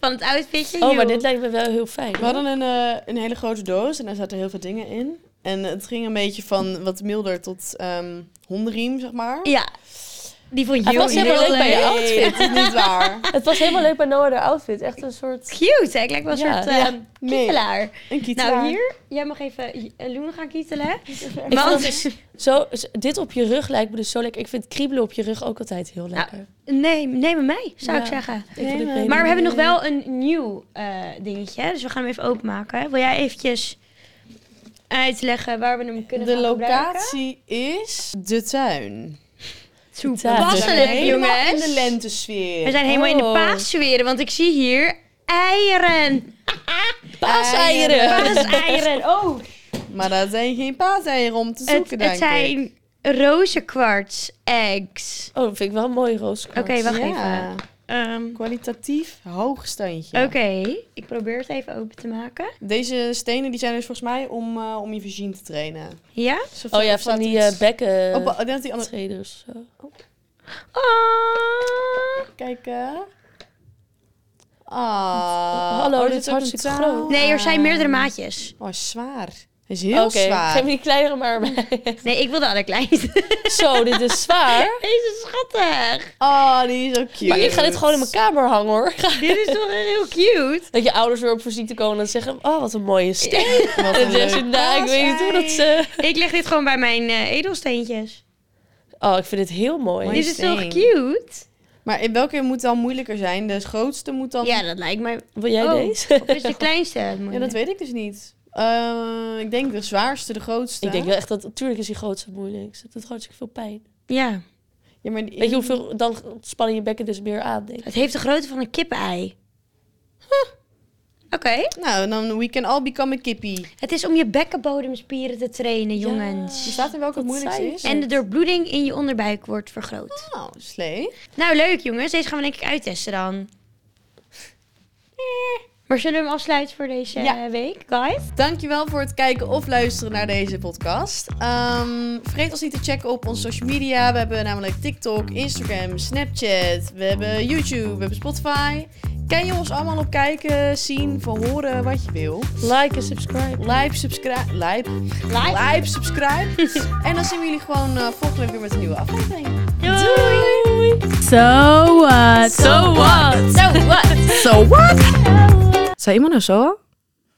van het outfitje.
Oh, maar
Joe.
dit lijkt me wel heel fijn.
We hadden een, eh, een hele grote doos en daar zaten heel veel dingen in. En het ging een beetje van wat milder tot ehm hondenriem, zeg maar.
Ja. Die vond
Hij
Joe
past helemaal
heel
leuk bij je
leuk. Nou,
outfit.
dat is niet waar.
Het was helemaal leuk bij Noah de outfit. Echt een soort...
Cute, hè? Ik lijk wel een
Ja.
soort eh,
Ja, nee.
kietelaar.
Een kietelaar.
Nou, hier, jij mag even eh, Loen gaan kietelen. dus-
Ik vond
Want,
het Zo, z- dit op je rug lijkt me dus zo lekker. Ik vind kriebelen op je rug ook altijd heel lekker.
nee, neem mij, zou
Ja.
ik zeggen.
Ik vind het
maar-
beter.
Maar we hebben nog wel een nieuw eh, dingetje, dus we gaan hem even openmaken. Wil jij eventjes uitleggen waar we hem kunnen
de
gaan gebruiken?
locatie is de tuin.
Zo
Tuin.
We zijn
Toepasselijk,
helemaal
jongens.
in de lentesfeer.
We zijn helemaal in de
Oh.
paasweren, want ik zie hier eieren.
paaseieren.
Paaseieren. Oh,
Maar dat zijn geen paaseieren om te
het,
zoeken, denk
het
ik.
zijn rozenkwarts eggs.
Oh, dat vind ik wel een mooi roos.
Oké, wacht
Ja,
even. Ehm,
kwalitatief hoog standje.
Oké, ik probeer het even open te maken.
Deze stenen die zijn dus volgens mij om, eh, om je vagina te trainen.
Ja?
Oh ja, van die eh, bekken...
Oh, ba- dat die andere...
treden of zo.
Oh.
Kijk, eh. Ah.
Hallo,
Oh,
dit
er
is
zit ook een
hartstikke
touw
groot.
Nee, er zijn
aan.
meerdere maatjes.
Oh, zwaar. Hij is heel
Oké,
zwaar.
geef me die kleinere maar bij.
Nee, ik wilde alle kleinste.
zo, dit is zwaar.
Deze is schattig.
Oh, die is ook cute.
Maar ik ga dit gewoon in mijn kamer hangen hoor.
Dit is toch heel cute.
Dat je ouders weer op visite komen en dan zeggen... Oh, wat een mooie steen.
Wat
En
een
dan zeg
leuk.
je... Nou, ik weet niet hoe dat ze...
Ik leg dit gewoon bij mijn eh, edelsteentjes.
Oh, ik vind het heel mooi.
Mooi.
Dit is toch
steen.
cute?
Maar in welke moet dan moeilijker zijn? De grootste moet dan...
Ja, dat lijkt mij.
Wil jij
Oh,
deze?
Of is de kleinste? het
Ja, dat
moeilijk?
weet ik dus niet. Eh, ik denk de zwaarste, de grootste.
Ik denk wel echt dat... Natuurlijk is die grootste het moeilijkste. Dat doet hartstikke veel pijn.
Ja,
Ja, maar die-
Weet je hoeveel... Dan spannen je bekken dus meer aan, denk ik.
het heeft de grootte van een kippenei. Oké.
Nou, dan we can all become a kippie.
Het is om je bekkenbodemspieren te trainen,
Ja.
jongens.
Er staat in welke het
Dat
moeilijkste
zei ik
is.
En de doorbloeding in je onderbuik wordt vergroot.
Nou, slee.
Nou, leuk jongens. Deze gaan we denk ik uittesten dan. Eh. Maar zullen we hem afsluiten voor deze
Ja.
eh, week, guys?
Dankjewel voor het kijken of luisteren naar deze podcast. Ehm, vergeet ons niet te checken op onze social media. We hebben namelijk TikTok, Instagram, Snapchat. We hebben YouTube, we hebben Spotify. Kan je ons allemaal op kijken, zien, van horen, wat je wil.
Like en subscribe.
Like, subscribe. Like,
Like.
like subscribe. en dan zien we jullie gewoon eh, volgende week weer met een nieuwe aflevering.
Doei!
So what? So what?
So what?
So what? Zei iemand nou zo?